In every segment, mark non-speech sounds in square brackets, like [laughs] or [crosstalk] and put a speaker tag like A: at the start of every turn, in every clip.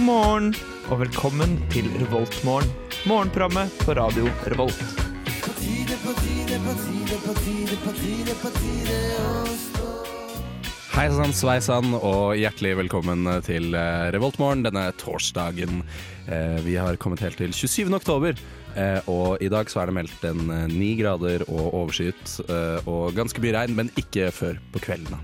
A: morgen og velkommen til Revoltmorgen. Morgenprogrammet på radio Revolt.
B: Hei sann, sveisann, og hjertelig velkommen til eh, Revoltmorgen denne torsdagen. Eh, Vi har kommet helt til 27. oktober, eh, og i dag så er det meldt en eh, ni grader og overskyet eh, og ganske mye regn, men ikke før på kveldene.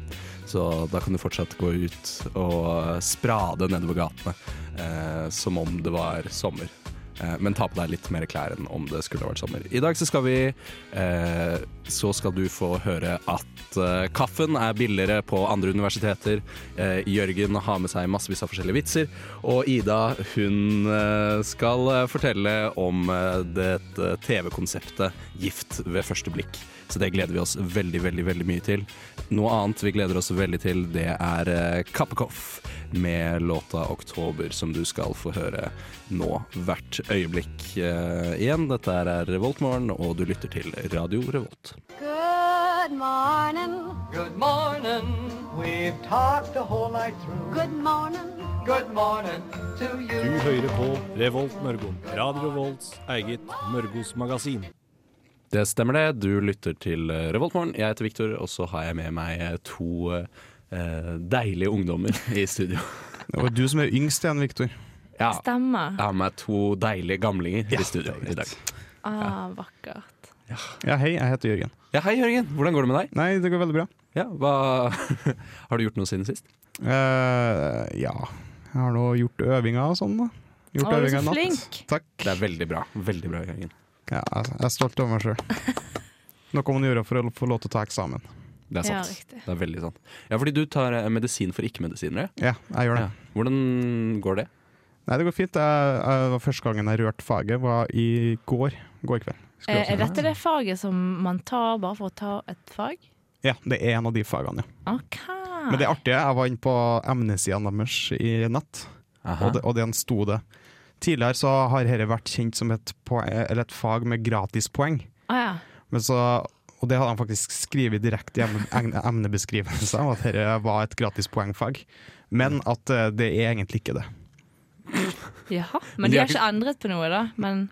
B: Så da kan du fortsatt gå ut og eh, sprade nedover gatene eh, som om det var sommer. Eh, Men ta på deg litt mer klær enn om det skulle vært sommer. I dag så skal vi eh, Så skal du få høre at eh, kaffen er billigere på andre universiteter. Eh, Jørgen har med seg massevis av forskjellige vitser. Og Ida, hun eh, skal eh, fortelle om eh, dette TV-konseptet Gift ved første blikk. Så det gleder vi oss veldig, veldig, veldig mye til. Noe annet vi gleder oss veldig til, det er eh, Kappekoff med låta 'Oktober', som du skal få høre nå hvert øyeblikk eh, igjen. Dette her er Revoltmorgen, og du lytter til Radio Revolt.
C: Good morning.
D: Good morning. We've talked the whole night through.
C: Good morning.
D: Good morning to
E: Du
D: you.
E: hører på Revolt Mørgo. Radio Revolts eget Mørgos magasin.
B: Det stemmer det, du lytter til eh, Revoltmorgen. Jeg heter Viktor, og så har jeg med meg eh, to eh, deilige ungdommer i studio.
F: Det var du som er yngst igjen, Viktor.
B: Ja, jeg
G: Stemmer.
B: har med meg to deilige gamlinger i studio
F: det er
B: i
F: greit.
B: dag.
G: Ah, vakkert.
F: Ja, hei, jeg heter Jørgen.
B: Ja, hei Jørgen, hvordan går det med deg?
F: Nei, det går veldig bra.
B: Ja, hva [laughs] Har du gjort noe siden sist?
F: Eh, ja, jeg har nå gjort øvinger og sånn, da. Gjort
G: Å, du er
F: øvinger
G: så
F: i natt.
G: flink.
F: Takk.
B: Det er veldig bra. Veldig bra, Jørgen.
F: Ja, jeg jeg er stolt over meg sjøl.
B: [laughs]
F: Noe man gjør for å få lov til å ta eksamen.
B: Det er
G: Ja,
B: sant.
G: riktig.
B: det er veldig sant. Ja, fordi du tar eh, medisin for ikke-medisinere.
F: Ja, jeg gjør det.
B: Ja. Hvordan går det?
F: Nei, det går fint. Jeg, jeg var Første gangen jeg rørte faget, var i går. Går kveld.
G: Eh, Er dette det faget som man tar bare for å ta et fag?
F: Ja, det er en av de fagene, ja.
G: OK.
F: Men det artige, jeg var inne på emnesidene deres i natt.
B: Aha.
F: og, det, og den sto det. Tidligere så har dette vært kjent som et, poeng, eller et fag med gratispoeng.
G: ah, ja.
F: Men så, og det hadde han faktisk skrevet direkte i emne- egne emnebeskrivelsen, om at dette var et gratispoengfag. Men at eh, det er egentlig ikke det.
G: Jaha.
B: Men
G: Men
B: de
G: de
B: har
G: har ikke endret på noe, da? Men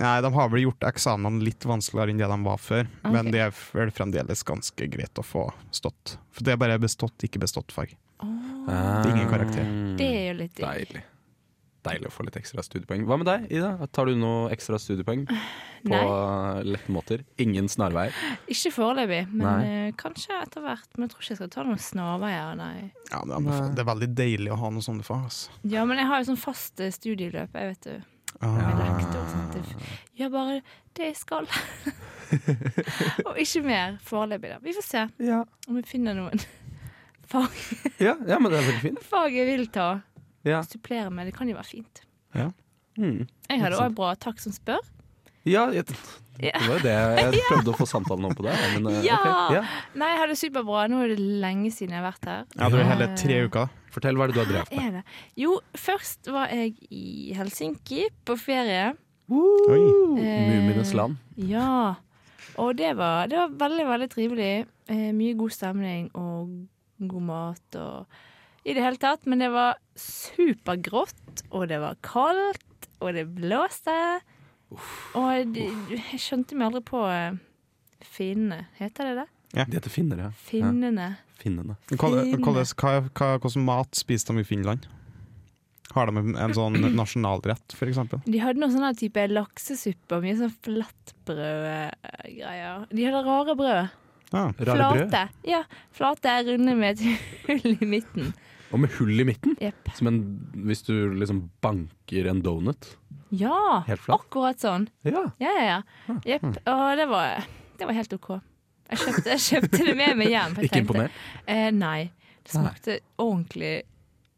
F: Nei, De har vel gjort eksamene litt vanskeligere enn det de var før, men
G: Ok.
F: det er vel fremdeles ganske greit å få stått. For det er bare bestått, ikke bestått fag.
B: Ah.
F: Ingen karakter.
G: det er jo litt digg.
B: Deilig. Deilig å få litt ekstra studiepoeng. Hva med deg, Ida? Tar du noe ekstra studiepoeng på
G: Nei,
B: eh, lette måter? Ingen snarveier?
G: ikke foreløpig. Men
B: Nei.
G: eh, kanskje etter hvert. Men jeg tror ikke jeg skal ta noen snarveier, nei.
F: Ja, men det er- Det er veldig deilig å ha noe sånt fag. Altså.
G: Ja, men jeg har jo sånn fast eh, studieløp, jeg, vet du.
F: Ah.
G: Med lektor. Sånn. at jeg- Gjør bare det jeg skal. Og ikke mer foreløpig, da. Vi får se
B: Ja.
G: om vi finner noen [laughs] fag.
B: Ja, ja, men det er veldig fint.
G: fag jeg vil ta.
B: Ja.
G: Supplere med. Det kan jo være fint.
B: Mm.
G: Jeg hadde òg bra takk som spør.
B: Ja, jeg, det
G: Ja.
B: var jo det
G: [laughs]
B: jeg prøvde å få samtalen om på deg. Men, eh,
G: Ja!
B: ok. ja.
G: Nei, jeg hadde superbra. Nå er det lenge siden jeg har vært her. Eh,
F: Ja, det er hele tre uker. da.
B: Fortell hva er det du har drevet med.
G: Er det? Jo, først var jeg i Helsinki på ferie. Eh,
F: Oi.
B: Mumienes land.
G: Ja. Og det var, det var veldig, veldig trivelig. Eh, mye god stemning og god mat og i det hele tatt. Men det var supergrått, og det var kaldt, og det blåste. Og det, jeg skjønte meg aldri på eh, finnene. Heter det det?
B: De heter finner, ja.
G: Finnene.
B: Finnene.
F: Hvordan,
G: Fin.
F: hvordan, hva, hva, hvordan mat spiser de i Finland? Har de en, en sånn nasjonalrett, for eksempel?
G: De hadde noen sånne type laksesuppe og mye sånn flatbrødgreier. De hadde rare brød.
F: Ja.
B: Rare brød.
G: Flate. Ja, flate er runde med [laughs] et hull i midten.
B: Og med hull i midten.
G: Jepp.
B: Som en, hvis du liksom banker en donut.
G: Ja,
B: Helt flat?
G: akkurat sånn.
B: Ja.
G: Ja, ja, ja. Jepp.
B: Hm.
G: Og det var, det var helt OK. Jeg kjøpte, jeg kjøpte det med meg hjem. for jeg
B: Ikke
G: tenkte-
B: imponert?
G: Eh, nei. Det
B: Nei.
G: smakte ordentlig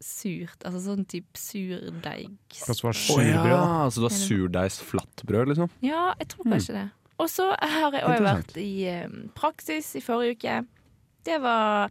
G: surt. Altså sånn type surdeig.
F: Hvordan var
B: Å ja,
F: surbrød? da?
B: Så du har surdeigsflatbrød, liksom?
G: Ja, jeg tror kanskje det. Og så har jeg
B: Hm.
G: også
B: Interessant.
G: vært i eh, praksis i forrige uke. Det var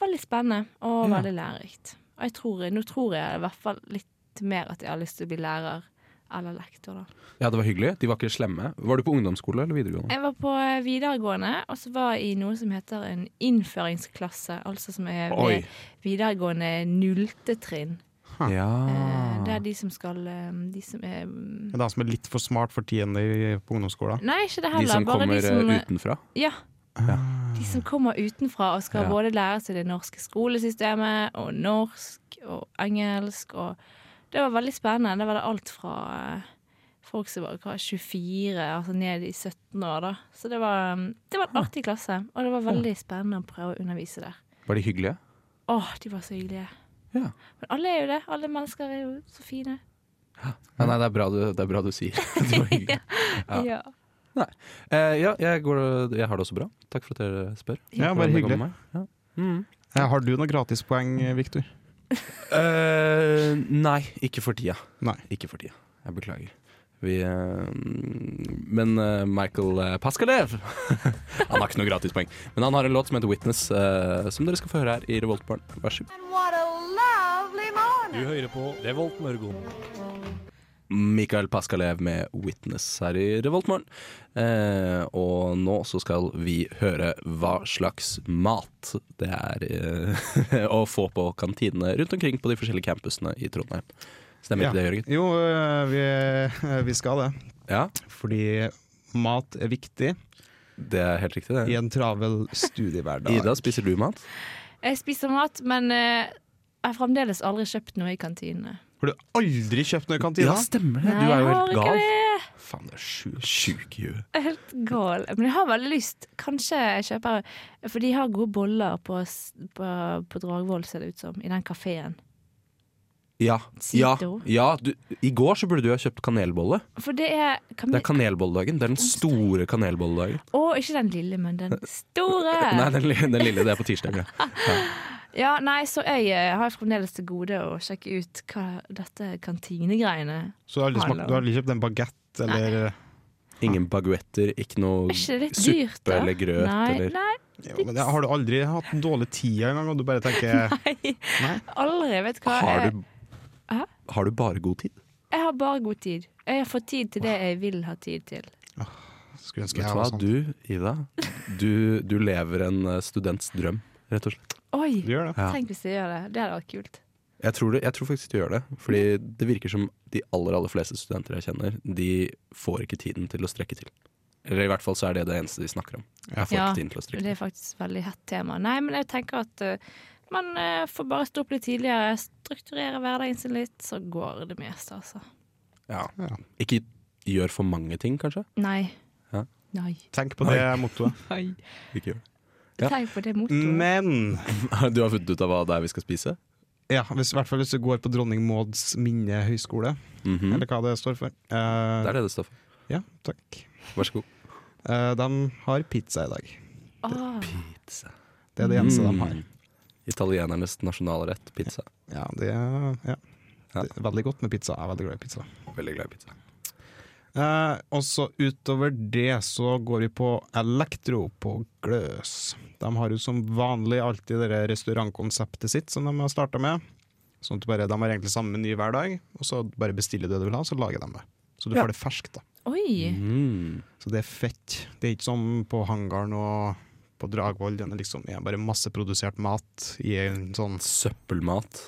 G: veldig spennende og
B: Ja.
G: veldig lærerikt. Og jeg tror, nå tror jeg i hvert fall litt mer at jeg har lyst til å bli lærer eller lektor, da.
B: Ja, det var hyggelig. De var ikke slemme. Var du på ungdomsskole eller videregående?
G: Jeg var på eh, videregående, og så var jeg i noe som heter en innføringsklasse. Altså som er
B: Oi.
G: ved videregående nullte trinn. Eh,
B: Ja.
G: Det er de som skal eh, De som er
F: Det er de som er litt for smart for tiende i- på ungdomsskolen.
G: Nei, ikke det
B: De
G: heller.
B: som
G: bare liksom,
B: kommer
G: de som,
B: eh, utenfra.
G: Ja.
B: Ja.
G: De som kommer utenfra og skal
B: Ja.
G: både lære seg det norske skolesystemet og norsk og engelsk og Det var veldig spennende. Det var det alt fra eh, folk som var hva, 24, altså ned i 17 år, da. Så det var, mm, det var en artig klasse, og det var veldig spennende å prøve å undervise der.
B: Var de hyggelige?
G: Åh, de var så hyggelige.
B: Ja.
G: Men alle er jo det. Alle mennesker er jo så fine.
B: Ja, nei, det er bra du, det er bra du
G: [laughs]
B: sier. De var hyggelige. Ja.
G: Ja.
B: Eh, ja, jeg, går, jeg har det også bra. Takk for at dere spør.
F: Ja, bare
B: Hvordan det går
F: hyggelig.
B: med meg. Ja.
F: Eh, Har du noen gratispoeng, eh, Victor?
B: Eh, nei, ikke for tida.
F: Nei.
B: Ikke for tida. Jeg beklager. Vi, eh, men eh, Michael eh, Pascalev [laughs] Han har ikke noe gratispoeng. Men han har en låt som heter 'Witness', eh, som dere skal få høre her i Revoltbarn. Vær så god.
C: And what a lovely
E: Du
C: morning.
E: hører på Revolt Mørgon.
B: Michael Pascalev med 'Witness' her i Revoltmorgen. Eh, og nå så skal vi høre hva slags mat det er eh, [laughs] å få på kantinene rundt omkring på de forskjellige campusene i Trondheim. Stemmer ikke det, Jørgen?
F: Jo, eh, vi, eh, vi skal det.
B: Ja,
F: Fordi mat er viktig
B: det er helt riktig,
F: i
B: det.
F: en travel studiehverdag.
B: Ida, spiser du mat?
G: Jeg spiser mat, men eh, jeg har fremdeles aldri kjøpt noe i kantinene.
F: Har du aldri kjøpt noe i kantina?
B: stemmer det.
G: Nei, jeg har ikke det.
B: Faen, det er sju- sjuk i huet.
G: Jeg er Helt gal. Men jeg har veldig lyst. Kanskje jeg kjøper For de har gode boller på, s- på, på Dragvoll, ser det ut som. I den kafeen.
B: Ja. ja,
G: Sito.
B: ja du, I går så burde du ha kjøpt kanelbolle.
G: For det er
B: Det er
G: kamel...
B: kanelbolledagen. Det er den store kanelbolledagen.
G: Å, ikke den lille, men
B: [laughs]
G: den store!
B: Nei, den, li- den lille. Det er på tirsdag. Ja.
G: [laughs] Ja, nei, så jeg eh, har fremdeles til gode å sjekke ut hva dette kantinegreiene
F: Så du har aldri, smakt, du har aldri kjøpt en bagett eller eh,
B: Ingen baguetter, ikke noe
G: Er ikke det litt
B: suppe
G: dyrt, da?
B: eller grøt
G: Nei,
B: eller
G: nei,
F: jo, men det, Har du aldri hatt en dårlig tid engang, og du bare tenker [laughs]
G: nei.
F: Nei.
G: [laughs] Aldri, vet du hva.
B: har,
G: Jeg-
B: du,
G: Hæ?
B: har du bare god tid?
G: Jeg har bare god tid. Jeg har fått tid til det jeg vil ha tid til.
F: Skulle ønske
B: Vet
F: jeg
B: du
F: var
B: hva,
F: sånn.
B: du, Ida, du, du lever en eh, students drøm, rett og slett.
G: Oi!
F: Du gjør det.
B: Ja.
G: Tenk hvis jeg gjør det. Det hadde vært kult.
B: Jeg tror, det, jeg tror faktisk du gjør det, fordi det virker som de aller aller fleste studenter jeg kjenner, de får ikke tiden til å strekke til. Eller i hvert fall så er det det eneste de snakker om. Jeg får
G: Ja,
B: ikke tiden til å strekke
G: Det
B: til.
G: er faktisk veldig hett tema. Nei, men jeg tenker at eh, man eh, får bare stå opp litt tidligere, strukturere hverdagen sin litt, så går det meste, altså.
B: Ja.
F: Ja.
B: Ikke gjør for mange ting, kanskje?
G: Nei.
B: Ja.
G: Nei.
F: Tenk på det mottoet. [laughs]
B: Ikke gjør det. Ja.
G: Tenk på det mottoet.
F: Men
B: [laughs] Du har funnet ut av hva det er vi skal spise?
F: ja, hvis, i hvert fall hvis du går på Dronning Mauds minne høgskole,
B: Mhm.
F: eller hva det står for. Eh,
B: Det er det det står for.
F: Ja, takk.
B: Vær så god.
F: Eh, de har pizza i dag.
G: Åh,
B: Pizza.
F: Det er det eneste
B: Mm.
F: de har.
B: Italienernes nasjonalrett, pizza.
F: Ja, det er, ja.
B: Ja.
F: Det er veldig godt med pizza. Jeg er veldig glad i pizza.
B: Veldig glad i pizza.
F: Eh, og så utover det så går vi på Elektro på Gløs. De har jo som vanlig alltid det der restaurantkonseptet sitt som de har starta med. Sånn at du bare, De har egentlig samme meny hver dag, og så bare bestiller du det du vil ha, så lager de det. Så du
B: Ja.
F: får det ferskt, da.
G: Oi!
B: Mm.
F: Så det er fett. Det er ikke som på hangaren og på Dragvoll, den er liksom er bare masseprodusert mat i en sånn
B: Søppelmat.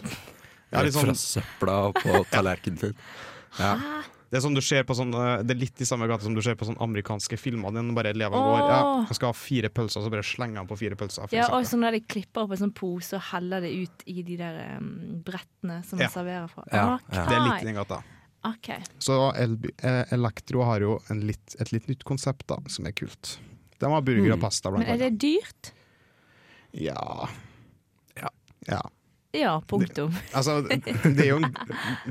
F: Ja, litt sånn-
B: Fra søpla [laughs] på tallerkenen din. Ja.
F: Det er som du ser på sånn eh, Det er litt i samme gate som du ser på sånn amerikanske filmer. Den bare elevene
G: Åh.
F: går ja, Han skal ha fire pølser, så bare slenger han på fire pølser. For
G: Ja, og
F: eksempel.
G: sånn der de klipper opp en sånn pose og heller det ut i de der eh, brettene som
F: Ja.
G: de serverer fra. Ah,
B: Ja, ja.
F: det er litt i
G: Ok.
F: den gata.
G: Ok.
F: Så Elby, eh, Elektro har jo en litt, et litt nytt konsept da, som er kult. De har burger og pasta, blant
G: Mm. Men er det
F: annet.
G: dyrt?
F: Ja.
B: Ja.
F: ja.
G: Ja, punktum.
F: Altså, det er jo en-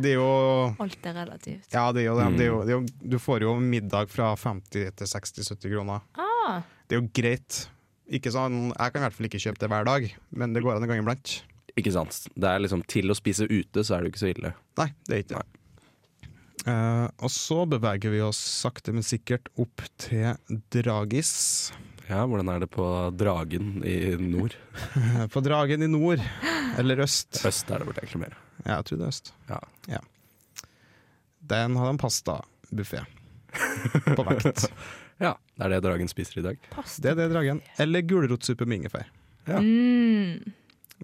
F: Det er jo
G: Alt er relativt.
F: ja, det er jo det. det, er jo, det er jo, du får jo middag fra 50 til 60-70 kroner.
G: Ah,
F: Det er jo greit. Ikke sånn, Jeg kan i hvert fall ikke kjøpe det hver dag, men det går an en gang iblant.
B: Ikke sant. Det er liksom til å spise ute, så er det jo ikke så ille.
F: Nei, det er ikke det. Eh, og så beveger vi oss sakte, men sikkert opp til Dragis.
B: Ja, Hvordan er det på Dragen i nord?
F: Eh, På Dragen i nord, eller øst.
B: Øst er det vel egentlig mer.
F: Ja, jeg tror det er øst.
B: Ja.
F: Den har en pastabuffé
B: [laughs]
F: på vekt.
B: ja. Det er det Dragen spiser i dag.
G: pasta.
F: Det er det Dragen. Eller gulrotsuppe med ingefær.
G: Mm.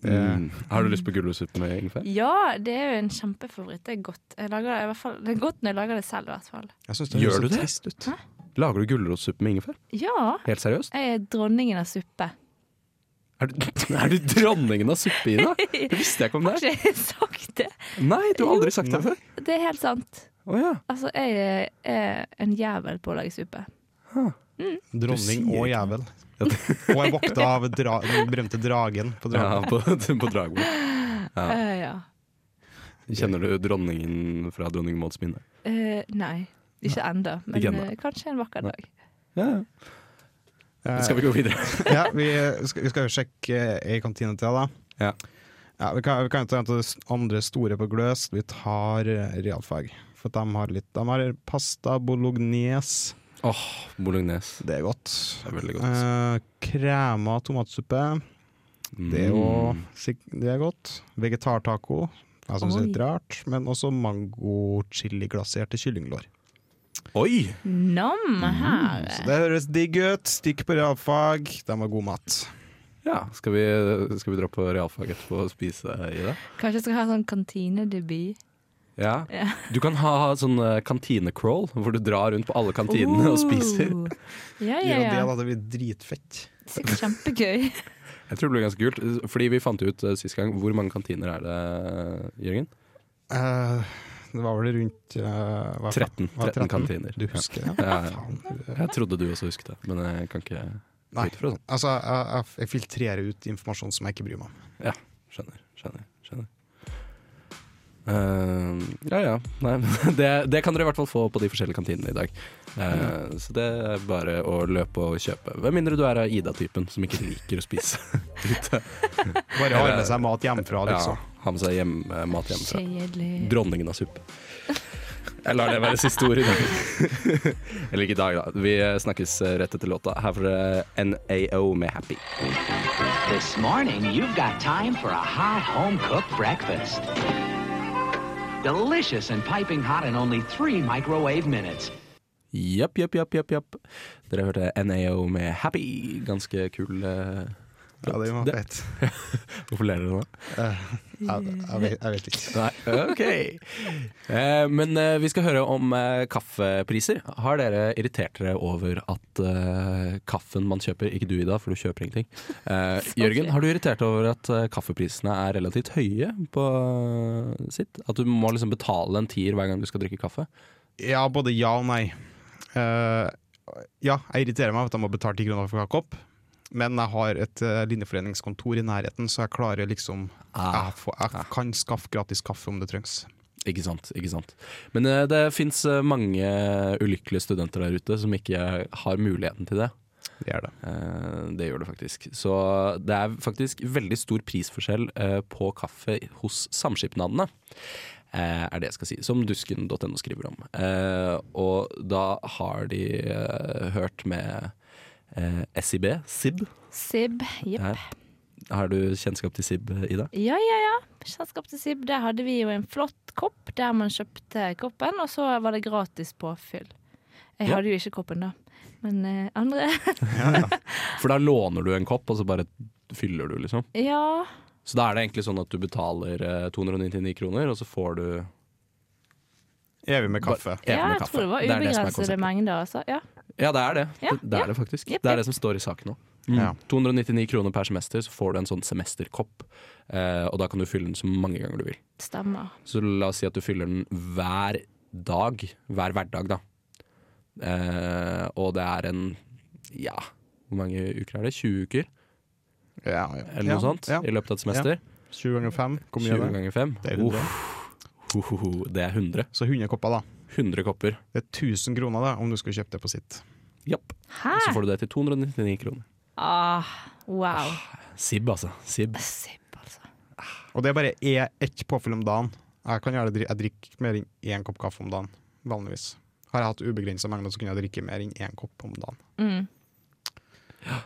F: Det,
B: Har du lyst på gulrotsuppe med ingefær?
G: Ja, det er jo en kjempefavoritt. Det er godt. Jeg lager det, i hvert fall, det er godt når jeg lager det selv, i hvert fall.
F: jeg synes det
B: Gjør
F: høres
B: du
F: så
B: det?
F: trist ut.
B: Lager du gulrotsuppe med ingefær?
G: Ja.
B: Helt seriøst?
G: Jeg er dronningen av suppe.
B: Er du, [laughs] er du dronningen av suppe, Ida? Det visste jeg ikke om
G: Har
B: deg.
G: ikke jeg sagt det?
B: Nei, du har aldri sagt det før.
G: Det er helt sant.
B: Å ja.
G: Altså, jeg er en jævel på å lage suppe.
F: Dronning
B: Du sier
F: og
B: ikke
F: jævel. Og jeg våkna av dra, den berømte dragen på
B: ja
F: dragen.
B: på, på [laughs] Dragvoll. Ja.
G: Eh, ja.
B: Kjenner du dronningen fra Dronning Mauds minne?
G: Eh, nei, ikke ennå. Men
B: Ikke enda.
G: eh, kanskje en vakker dag.
B: Ja.
F: Eh,
B: Skal vi gå videre?
F: ja, vi, skal, vi skal jo sjekke ei kantine til, da.
B: Ja.
F: Ja, vi, kan, vi kan jo ta en av de s- andre store på gløs. Vi tar eh, realfag. For de har litt De har pasta bolognese.
B: [laughs] Åh, bolognese.
F: Det er godt.
B: Det er veldig godt.
F: Eh, krema tomatsuppe.
B: Mm.
F: Det er jo sik- det er godt. Vegetartaco. Jeg syns det er litt rart. Men også mango-chiliglaserte kyllinglår.
B: Oi!
G: Nam her.
F: Så det høres digg ut. Stikk på realfag. De har god mat.
B: Ja, skal vi, skal vi dra på realfag etterpå og spise i det?
G: Kanskje jeg skal ha sånn kantinedebut.
B: Ja.
G: Ja.
B: Du kan ha sånn eh, kantinecrawl, hvor du drar rundt på alle kantinene og spiser.
G: Oh. Ja, ja,
F: Gjør det,
G: ja.
F: da. Det blir dritfett.
G: Sikkert kjempegøy.
B: Jeg tror det blir ganske kult, fordi vi fant ut eh, sist gang hvor mange kantiner er det,
G: [laughs]
B: Jørgen?
F: Eh, det var vel rundt eh, hva faen?
B: 13.
F: Var det
B: 13 kantiner.
F: Du husker det?
B: Ja, ja.
F: [laughs] Faen. eh,
B: Jeg trodde du også husket det, men jeg kan ikke
F: Nei,
B: ut fra sånn.
F: altså jeg, jeg- jeg filtrerer ut informasjon som jeg ikke bryr meg om.
B: Ja, skjønner, skjønner, skjønner. Eh, ja ja. Nei, men [laughs] det, det kan dere i hvert fall få på de forskjellige kantinene i dag. Eh, Så det er bare å løpe og kjøpe. Med mindre du er av Ida-typen som ikke liker å spise [laughs] ute.
F: Bare har med seg mat hjemmefra,
B: Ja,
F: liksom.
B: ha med seg hjem, eh, mat hjemmefra.
G: Kjedelig.
B: Dronningen av suppe. [laughs] Jeg lar det være siste ord i dag. [laughs] Eller ikke i dag, da. Vi eh, snakkes rett etter låta. Her får dere NAO med 'Happy'.
H: This morning, you've got time for a hot home cooked breakfast. Delicious and piping hot in only three microwave minutes.
B: Jepp, jepp, jepp, jepp, jepp. Dere hørte NAO med 'Happy'. Ganske kul eh,
F: Ja, det var
B: Det-
F: fett.
B: Hvorfor ler dere nå?
F: Jeg, jeg, vet, jeg vet ikke.
B: Nei, ok. Eh, men eh, vi skal høre om eh, kaffepriser. Har dere irritert dere over at eh, kaffen man kjøper Ikke du, Ida, for du kjøper ingenting. Eh, Jørgen, har du irritert deg over at eh, kaffeprisene er relativt høye på eh, sitt? At du må liksom betale en tier hver gang du skal drikke kaffe?
F: Ja, både ja og nei. Eh, ja, jeg irriterer meg over at jeg må betale 10 kroner for kakekopp, men jeg har et eh, linjeforeningskontor i nærheten, så jeg klarer liksom
B: Ah.
F: Jeg, får, jeg kan skaffe gratis kaffe om det trengs.
B: Ikke sant. ikke sant Men eh, det fins eh, mange ulykkelige studenter der ute som ikke har muligheten til det.
F: Det er det.
B: Eh, Det gjør det faktisk. Så det er faktisk veldig stor prisforskjell eh, på kaffe hos samskipnadene. eh, Er det jeg skal si. Som dusken.no skriver om. Eh, Og da har de eh, hørt med eh, SIB. SIB.
G: Sib. Jepp.
B: Ja. Har du kjennskap til SIB, Ida?
G: Ja, ja, ja. Kjennskap til Sib. Der hadde vi jo en flott kopp der man kjøpte koppen, og så var det gratis påfyll. Jeg
B: Ja.
G: hadde jo ikke koppen da, men eh, andre [laughs]
B: For da låner du en kopp, og så bare fyller du, liksom.
G: Ja.
B: Så da er det egentlig sånn at du betaler eh, 299 kroner, og så får du
F: Evig med kaffe.
B: evig
G: ja
B: med
G: jeg
B: kaffe.
G: tror det var
B: er det som er
G: ubegrensede
B: konseptet.
G: mengder, altså. Ja.
B: Ja, det er det.
G: Ja,
B: det, det
G: ja.
B: er det faktisk.
G: Jepp,
B: Det
G: jepp.
B: er det som står i saken nå.
F: Ja.
B: 299 kroner per semester, så får du en sånn semesterkopp. Eh, og da kan du fylle den så mange ganger du vil.
G: Stemmer.
B: Så la oss si at du fyller den hver dag. Hver hverdag, da. Eh, og det er en ja, hvor mange uker er det? 20 uker,
F: Ja, ja.
B: eller noe
F: Ja,
B: sånt?
F: Ja.
B: I løpet av et semester.
F: 20 ganger 5, hvor mye
B: 20
F: er det?
B: ganger 5.
F: Det er 100.
B: det er 100.
F: Så 100 kopper, da.
B: 100 kopper.
F: Det er 1000 kroner da, om du skal kjøpe det på sitt.
B: Japp.
G: Hæ?
B: Så får du det til 299 kroner.
G: Ah, wow.
B: SIB, altså. SIB.
G: Sib, altså.
F: Og det er bare e- ett påfyll om dagen. Jeg kan gjerne dri- jeg drikker mer enn én kopp kaffe om dagen, vanligvis. Har jeg hatt ubegrensa mengder, så kunne jeg drikke mer enn én kopp om dagen.
G: Mm.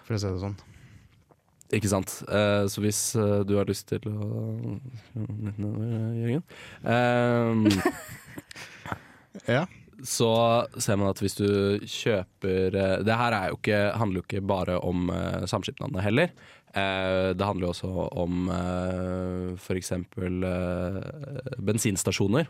F: For å si det sånn.
B: Ikke sant. Eh, så hvis eh, du har lyst til å Jørgen. Eh,
F: Ja.
B: [laughs] så ser man at hvis du kjøper eh, Det her er jo ikke, handler jo ikke bare om eh, samskipnadene heller. Eh, Det handler jo også om eh, f.eks. bensinstasjoner.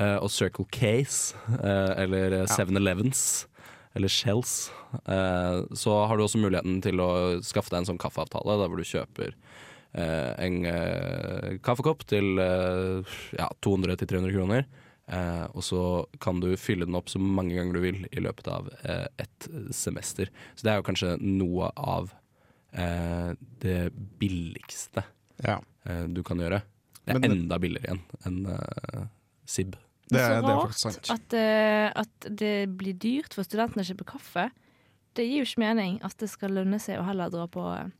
B: Eh, Og Circle Ks, eh, eller 7-Elevens, eller Shells. Eh, Så har du også muligheten til å skaffe deg en sånn kaffeavtale, der hvor du kjøper eh, en eh, kaffekopp til eh, ja, 200-300 kroner. Eh, og så kan du fylle den opp så mange ganger du vil i løpet av eh, et semester. Så det er jo kanskje noe av eh, det billigste
F: Ja.
B: eh, du kan gjøre. Det er
F: Men-
B: enda billigere igjen enn eh, SIB.
F: Det,
G: så
F: er- det er
G: rart
F: faktisk sant.
G: at, eh, at det blir dyrt for studentene å kjøpe kaffe. Det gir jo ikke mening at det skal lønne seg å heller dra på eh,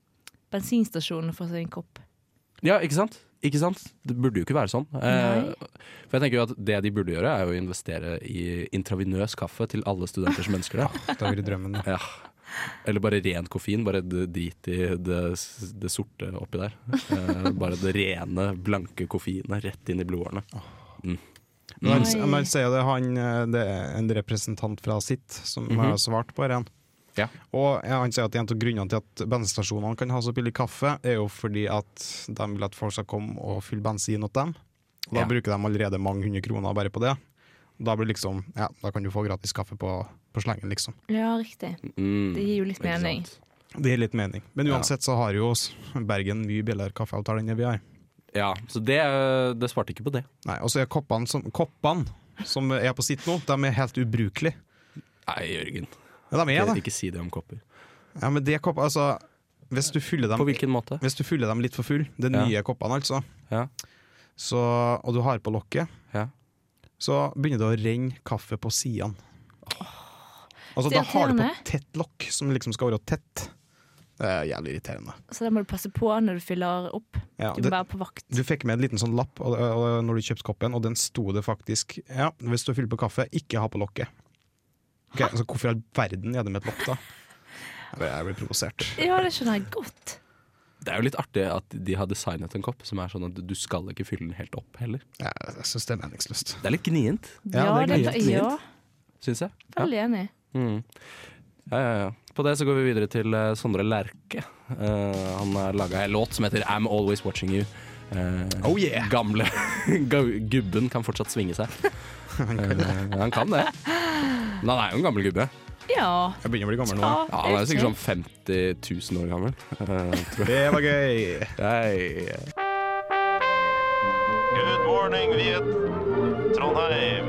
G: bensinstasjonen for seg en kopp.
B: Ja, ikke sant? Ikke sant? Det burde jo ikke være sånn. Eh,
G: Nei.
B: for jeg tenker jo at Det de burde gjøre, er jo å investere i intravenøs kaffe til alle studenter som ønsker det.
F: Det har vært drømmen. da.
B: Ja. Eller bare ren koffein. Bare d- drit i det, s- det sorte oppi der. Eh, bare det rene, blanke koffeinet rett inn i blodårene.
F: Men han,
G: Oi.
F: men han sier jo det, han, eh, det er en representant fra sitt som har svart på dette.
B: Ja.
F: Og ja, han sier at en av grunnene til at bensinstasjonene kan ha så billig kaffe, er jo fordi at de vil at folk skal komme og fylle bensin åt dem. Og da
B: Ja.
F: bruker de allerede mange hundre kroner bare på det. Da blir det liksom, ja, da kan du få gratis kaffe på, på slengen, liksom.
G: Ja, riktig.
B: Mm,
G: Det gir jo litt
B: ikke sant?
G: mening.
F: Det gir litt mening. Men
B: Ja.
F: uansett så har jo s- Bergen mye billigere kaffeavtale enn det vi har.
B: Ja, så det, eh, det svarte ikke på det.
F: Nei, Og så er koppene som, koppene som er på sitt nå, de er helt ubrukelige.
B: Nei, Jørgen.
F: Ja, de er det.
B: Ikke, ikke si det om kopper.
F: Ja, men det er kopp, altså hvis du, fyller
B: På
F: dem,
B: hvilken måte?
F: hvis du fyller dem litt for full, de
B: Ja.
F: nye koppene altså,
B: Ja.
F: så, og du har på lokket,
B: Ja.
F: så begynner det å renne kaffe på sidene. Altså,
G: Det
F: da
G: er
F: har du på
G: irriterende.
F: et tett lokk som liksom skal være tett. Det er jævlig irriterende.
G: Så da må du passe på når du fyller opp.
F: Ja,
G: Du må
F: det,
G: være på vakt.
F: du fikk med en liten sånn lapp og, og, og, når du kjøpte koppen, og den sto det faktisk Ja, hvis du fyller på kaffe, ikke ha på lokket. Ok, altså, hvorfor i all verden er det med et lokk, da? Jeg blir- Jeg blir provosert.
G: Ja, det skjønner jeg godt.
B: Det er jo litt artig at de har designet en kopp som er sånn at du skal ikke fylle den helt opp heller.
F: Jeg, jeg syns det er meningsløst.
B: Det er litt gnient,
G: Ja,
F: Ja, det er
G: det,
F: greit.
G: ja
B: syns jeg. Ja.
G: veldig enig.
B: Mm. Ja, ja, ja. På det så går vi videre til eh, Sondre Lerche. Eh, han har laga en låt som heter 'I'm Always Watching You'. Eh,
F: Oh, yeah!
B: Gamle [laughs] gu- gubben kan fortsatt svinge seg. Eh, [laughs] han kan det. Men han er jo en gammel gubbe.
G: Ja.
F: Jeg begynner å bli gammel nå.
G: ja
B: Ja, han er jo
G: det
B: sikkert sånn
G: er
B: 50 000 år gammel. Eh, tror
F: Det var gøy!
B: jeg.
I: Good morning, Viet. Trondheim.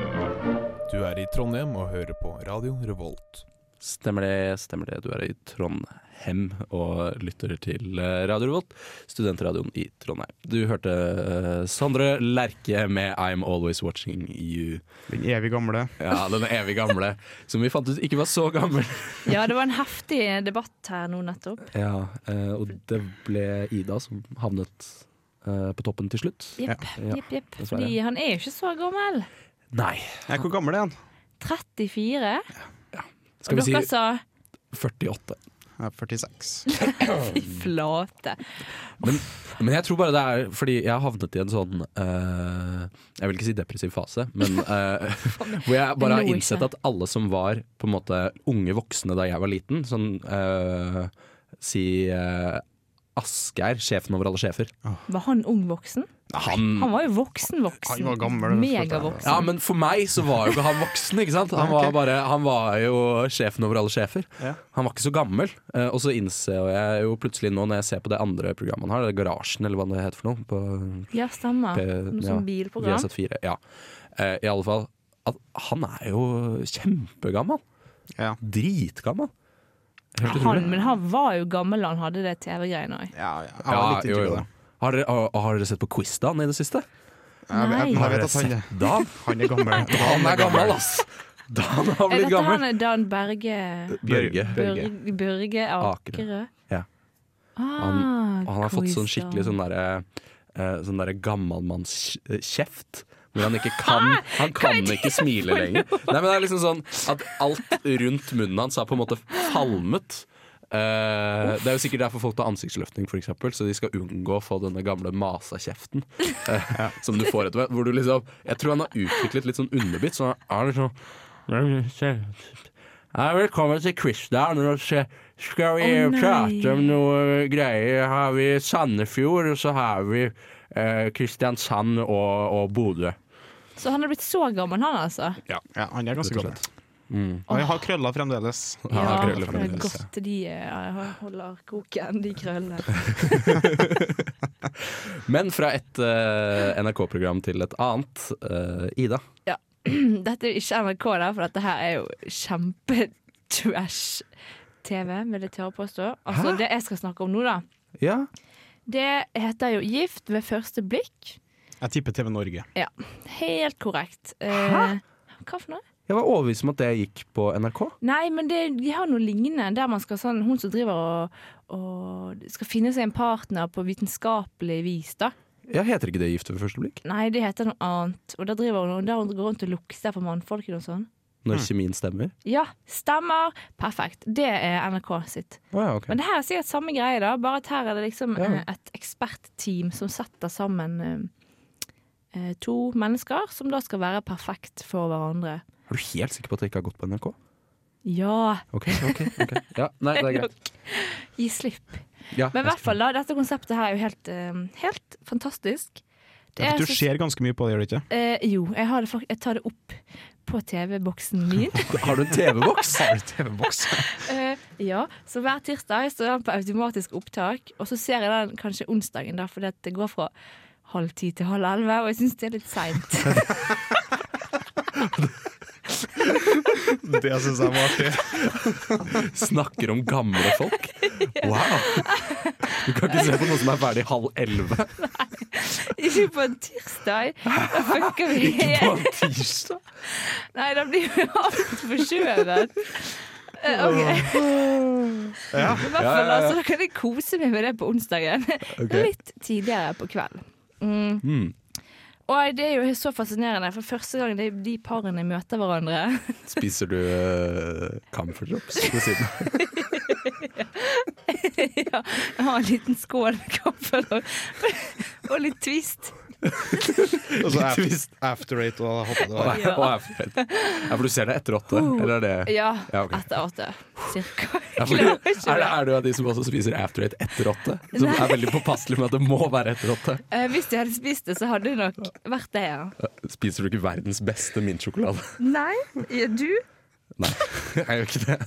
E: Du er i Trondheim og hører på Radio Revolt.
B: Stemmer det, stemmer det. Du er i Trondheim og lytter til eh, Radio Revolt, studentradioen i Trondheim. Du hørte eh, Sondre Lerche med 'I'm Always Watching You'.
F: Den evig gamle.
B: Ja, den evig gamle, som vi fant ut ikke var så gammel.
G: sånn Ja, det var en heftig debatt her nå nettopp.
B: Ja, eh, og det ble Ida som havnet eh, på toppen til slutt.
G: Jepp,
B: Ja,
G: jepp, jepp.
B: dessverre.
G: Fordi han er jo ikke så gammel.
B: Nei.
F: Nei, hvor gammel er han?
G: 34.
B: Skal
G: og
B: vi
G: dere
B: si
G: sa
B: 48.
F: Jeg er 46.
G: fy flate.
B: Men, men jeg tror bare det er fordi jeg har havnet i en sånn eh, Jeg vil ikke si depressiv fase, men eh, [laughs] hvor jeg bare
G: Lo
B: har
G: ikke.
B: innsett at alle som var på en måte unge voksne da jeg var liten, sånn eh, si eh, Asgeir, sjefen over alle sjefer.
G: Var han ung voksen?
B: Han
G: Han var jo voksen
F: Han
G: voksen.
F: var gammel,
G: Megavoksen.
B: Ja, men for meg så var jo ikke han voksen, ikke sant? Han
F: Nei, [laughs] ok.
B: var, bare, han var jo sjefen over alle sjefer.
F: Ja.
B: Han var ikke så gammel. Eh, Og så innser jeg jo plutselig nå, når jeg ser på det andre programmet han har, det er Garasjen eller hva det heter for noe, på
G: Ja, stemmer.
B: P-
G: Noe
B: Eh, ja,
G: sånn bilprogram.
B: VZ4, ja. Eh, I alle fall, at han er jo kjempegammel.
F: Ja.
B: Dritgammel. Helt utrolig.
G: Han, men han var jo gammel da han hadde det TV-greiene òg.
F: Ja, ja.
B: Ja,
F: Jeg har litt
B: jo,
F: inntrykk av
B: jo.
F: det.
B: Har dere, har, har dere sett på Quizdan i det siste?
F: Jeg vet-
G: Nei.
F: men Jeg
B: Har
F: vet
B: dere
F: at han,
B: sett Dan?
F: han er
B: [laughs]
F: gammel.
B: Dan er gammel, ass! Dan har
G: Er
B: blitt
G: dette han
B: gammel. Eh,
G: er Dan Berge
B: Bjørge.
G: Børge, Børge Akerø?
B: Ja.
G: Ah,
B: Og han har fått sånn
G: quiz, da.
B: skikkelig sånn derre eh, Sånn derre gammalmannskjeft. Hvor han ikke kan Han kan ikke smile lenger. Nei, men det er liksom sånn at alt rundt munnen hans har på en måte falmet. Eh, det er jo sikkert derfor folk tar ansiktsløftning, for eksempel, så de skal unngå å få denne gamle masa-kjeften. eh, Som du får etter hvert. Hvor du liksom Jeg tror han har utviklet litt sånn underbitt. Så han er liksom Hei, velkommen til Quizdown. Nå se- skal vi
G: Å, nei.
B: prate om noe greier. Har vi Sandefjord, og så har vi eh, Kristiansand og, og Bodø.
G: Så han er blitt så gammel, han altså.
F: Ja, han er ganske
B: Rett og
F: gammel. Og jeg har krøller [laughs] fremdeles.
B: Han har krøller
G: det er
B: fremdeles, ja.
G: godt de eh, holder koken, de krøllene.
B: [laughs] Men fra et eh, NRK-program til et annet. eh, Ida.
G: [clears throat] Dette er jo ikke NRK, da, for dette her er jo kjempetrash-TV, vil jeg tørre å påstå. Altså, det jeg skal snakke om nå, da,
B: Ja.
G: det heter jo 'Gift ved første blikk'.
F: Jeg tipper TV Norge.
G: Helt korrekt. Eh, hva for noe?
B: Jeg var overbevist om at det gikk på NRK.
G: Nei, men det, de har noe lignende. Der man skal sånn, Hun som driver og, og skal finne seg en partner på vitenskapelig vis, da.
B: Ja, Heter ikke det 'Gift ved første blikk'?
G: Nei, det heter noe annet. Og der driver hun der hun går rundt og lukter på mannfolkene og sånn.
B: Når kjemien stemmer?
G: Ja, stemmer! Perfekt. Det er NRK sitt.
B: Å ja, ok.
G: Men det her er sikkert samme greie, da. Bare at her er det liksom
B: Ja.
G: eh, et ekspertteam som setter sammen eh, eh, to mennesker som da skal være perfekt for hverandre.
B: Er du helt sikker på at det ikke har gått på NRK?
G: Ja,
B: Ok, ok, ok Ja, Nei, det er greit.
G: gi slipp.
B: Ja,
G: Men i hvert fall, da. Dette konseptet her er jo helt, eh, helt fantastisk. Det
F: Ja, for
G: er
F: du
G: så-
F: ser ganske mye på det, gjør du ikke?
G: eh, jo, jeg, har det, fak- jeg tar det opp på TV-boksen
F: [laughs]
G: min.
B: Har du en TV-boks?
F: TV-boks.
G: Eh, ja, så hver tirsdag står den på automatisk opptak, og så ser jeg den kanskje onsdagen, da, fordi at det går fra halv ti til halv elleve, og jeg syns det er litt seint.
F: [laughs]
G: [laughs]
F: Det syns jeg var artig.
B: Snakker om gamle folk?
G: [laughs]
B: Wow! Du kan ikke se på noe som er ferdig halv elleve
G: Ikke på en tirsdag. Da fucker vi
B: på
G: helt.
B: en tirsdag!
G: Nei, da blir vi altfor skjøvet. Eh, OK. Men I hvert
B: Ja,
G: fall,
B: ja, ja.
G: altså, da kan jeg kose meg med det på onsdagen. Litt tidligere på kvelden. Mm.
B: Mm.
G: Og det er jo så fascinerende, for første gang de, de parene møter hverandre [laughs]
B: Spiser du uh, Camphor Drops ved siden av?
G: Ja, jeg har en liten skål med kaffe og, og litt twist.
F: [laughs] Og så
B: Litt
F: after,
B: twist.
F: after eight og hoppa det
B: Å,
F: der.
B: jeg- å, jeg er for feit. Ja, for du ser det etter åtte? Eller er det
G: Oh. Ja,
B: Ja, ok.
G: etter åtte. Cirka.
B: Ja,
G: Jeg
B: for,
G: klarer
B: er,
G: ikke
B: det,
G: det.
B: er du av de som også spiser after eight etter åtte? Som
G: Nei.
B: er veldig påpasselig med at det må være etter åtte?
G: Eh, Hvis jeg hadde spist det, så hadde det nok vært det, ja.
B: Eh, Spiser du ikke verdens beste mintsjokolade? [laughs]
G: Nei, du?
B: Nei, jeg gjør ikke det.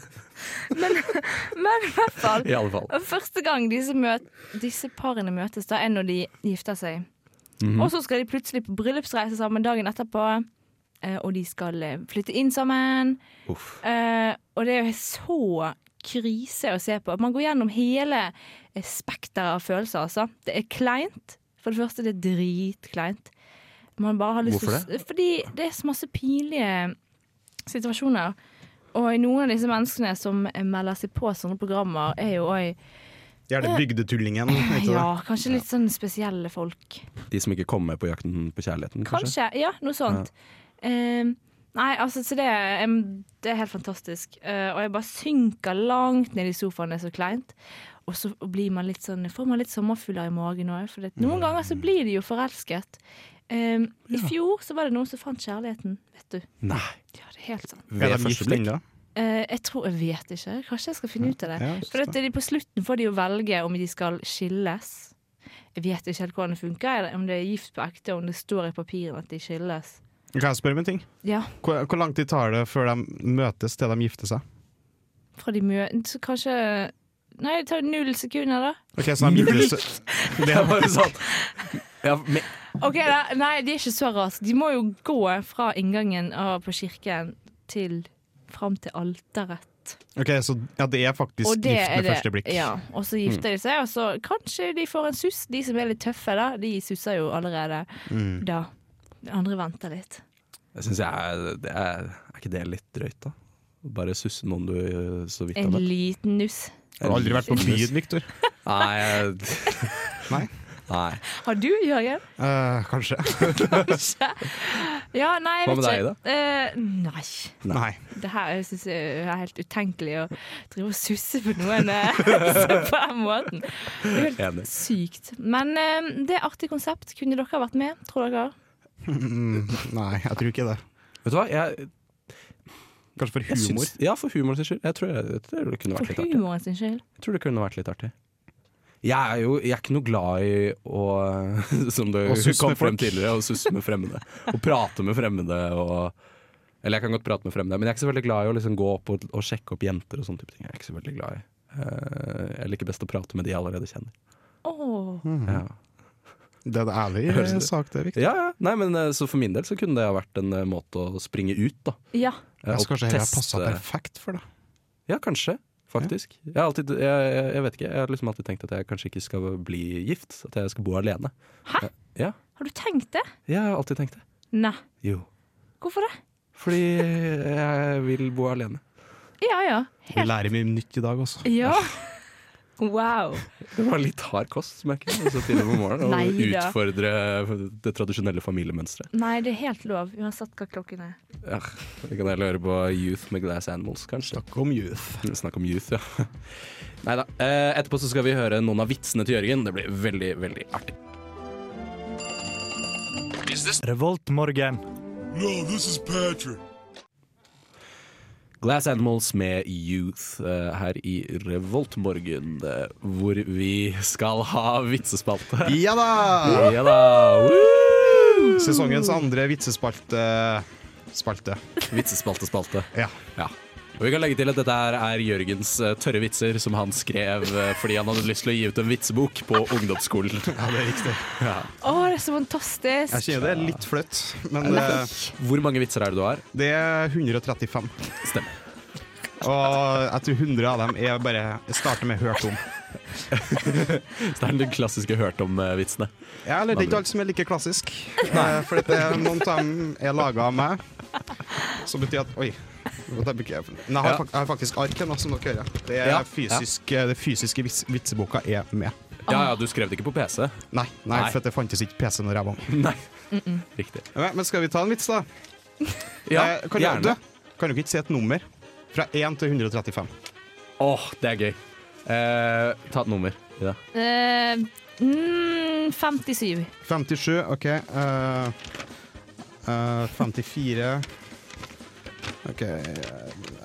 G: Men i hvert fall.
B: I alle fall.
G: Og Første gang disse, møt, disse parene møtes, da er når de gifter seg.
B: Mhm.
G: Og så skal de plutselig på bryllupsreise sammen dagen etterpå. eh, Og de skal eh, flytte inn sammen.
B: Uff.
G: Eh, og det er jo så krise å se på. Man går gjennom hele eh, spekteret av følelser, altså. Det er kleint. For det første, det er dritkleint. Man bare har lyst til å
B: Hvorfor
G: s- Fordi det er så masse pinlige situasjoner. Og noen av disse menneskene som melder seg på sånne programmer, er jo òg
F: Gjerne bygdetullingen. ikke det?
G: ja, kanskje litt sånn spesielle folk.
B: De som ikke kom med på Jakten på kjærligheten, kanskje?
G: Kanskje. Ja, noe sånt. Ehm, nei, altså, så det, er- em, det er helt fantastisk. Eh, og jeg bare synker langt ned i sofaen, det er så kleint. Og så blir man litt sånn, får man litt sommerfugler i magen òg, for det,
B: Mm.
G: noen ganger så blir de jo forelsket. Ehm, I fjor så var det noen som fant kjærligheten, vet du.
B: Nei.
G: Ja, det er helt sant.
F: Er de gift ennå?
G: Eh, jeg tror, jeg vet ikke. Kanskje jeg skal finne ut av det.
F: Ja,
G: For at de på slutten får de jo velge om de skal skilles. Jeg vet ikke helt hvordan det funker, eller om det er gift på ekte, om det står i papirene at de skilles.
F: Kan jeg spørre om en ting?
G: Ja,
F: Hvor, hvor lang tid tar det før de møtes til de gifter seg?
G: fra de mø... Så kanskje Nei, det tar null sekunder, da.
F: Ok, så de gifter seg
G: [laughs]
B: Det er bare sånn ja, men,
G: Ok, da. Nei, det er ikke så rart. De må jo gå fra inngangen av på kirken til fram til alteret.
F: Ok, så ja, det er faktisk gift med første blikk.
G: Ja, og så gifter de seg, og så kanskje de får en suss. De som er litt tøffe, da, de susser jo allerede da. De andre venter litt.
B: jeg synes jeg det er, er ikke det litt drøyt, da? Bare susse noen du eh, så vidt har
G: En
B: møtt?
G: liten nuss.
F: Har du aldri vært på byen, Victor?
B: Nei. jeg-
F: Nei.
B: Nei.
G: Har du, Jørgen?
F: Eh, kanskje. [laughs]
G: Kanskje? Ja, nei, jeg
B: Hva med
G: vet
B: deg,
G: ikke. Eh, nei.
F: Nei.
G: Det her syns jeg er helt utenkelig, å drive og susse på noen eh, [laughs] på den måten. Det er helt
B: Enig.
G: sykt. Men eh, det er artig konsept. Kunne dere vært med, tror dere?
F: Mm, Nei, jeg tror ikke det.
B: Vet du hva? Jeg,
F: Kanskje for
B: jeg
F: humor.
B: syns- ja, for humor sin skyld. Jeg tror, jeg, tror det kunne vært litt
G: For
B: artig.
G: humoren sin skyld.
B: Jeg tror det kunne vært litt artig. Jeg er jo jeg er ikke noe glad i å [laughs] Som det
F: Å susse
B: kom
F: med
B: frem
F: folk.
B: tidligere, å susse med fremmede. Å prate med fremmede og Eller jeg kan godt prate med fremmede, men jeg er ikke så veldig glad i å liksom gå opp og, og sjekke opp jenter og sånne type ting. Jeg er ikke så veldig glad i Eh, Jeg liker best å prate med de jeg allerede kjenner.
G: Åh,
B: Ja.
F: Det er en ærlig
B: Høres det.
F: sak, det er viktig.
B: ja, ja. Nei, men eh, Så for min del så kunne det ha vært en eh, måte å springe ut, da.
G: ja.
B: Eh,
F: Jeg
B: og
F: skal kanskje heller
B: teste-
F: passa perfekt for det.
B: Ja, kanskje. Faktisk. Jeg, har alltid, jeg, jeg, jeg vet ikke, jeg har liksom alltid tenkt at jeg kanskje ikke skal bli gift. At jeg skal bo alene.
G: Hæ?
B: Ja,
G: Har du tenkt det?
B: jeg har alltid tenkt det.
G: Nei.
B: Jo.
G: Hvorfor det?
B: Fordi jeg vil bo alene.
G: Ja ja.
F: Vi lærer mye nytt i dag også.
G: Ja. [laughs] Wow.
B: Det var litt hard kost, merker jeg. Og så tidlig på morgenen. Og
G: Neida.
B: utfordre det tradisjonelle familiemønsteret.
G: Nei, det er helt lov, uansett hva klokken er.
B: Ja, vi kan heller høre på Youth med Glass Animals, kanskje.
F: Takk om youth.
B: Snakk om youth, ja. [laughs] Nei da. Etterpå så skal vi høre noen av vitsene til Jørgen. Det blir veldig, veldig artig.
A: Revoltmorgen.
B: Glass Animals med Youth eh, her i Revoltmorgen, eh, hvor vi skal ha vitsespalte.
F: Ja da!
B: Ja da! woo!
F: Sesongens andre vitsespalte. Spalte.
B: Vitsespalte-spalte.
F: Ja.
B: Ja. Og vi kan legge til at dette her er Jørgens eh, tørre vitser, som han skrev eh, fordi han hadde lyst til å gi ut en vitsebok på ungdomsskolen.
F: ja, det er riktig.
G: Å, det er så fantastisk!
F: Jeg kjenner det er litt flaut, men eh,
B: Hvor mange vitser er det du har?
F: det er 135.
B: Stemmer.
F: Og jeg tror 100 av dem er bare Jeg starter med 'hørt om'.
B: Så det er den klassiske eh, hørt om-vitsene.
F: Ja, eller det er ikke alt som er like
B: [laughs]
F: klassisk. Eh, For at det er noen av dem er laga av meg, som betyr at Oi. det er ikke- Nei, jeg har,
B: Ja.
F: fak- jeg har faktisk arken, da, som dere hører. Det, er
B: Ja,
F: fysisk, eh, det fysiske vits vitseboka er med.
B: Ja, ja, du skrev det ikke på PC?
F: Nei, nei,
B: Nei.
F: for at det fantes ikke PC når jeg var ung.
B: [laughs] Nei. Riktig.
F: Ja, Men skal vi ta en vits, da?
B: Ja,
F: Eh, kan du-
B: gjerne.
F: Du, kan du ikke si et nummer? Fra 1 til 135.
B: Åh, det er gøy. Eh, ta et nummer. Ja.
G: Eh, mm, 57.
F: 57, OK. eh, eh, 54 OK, eh,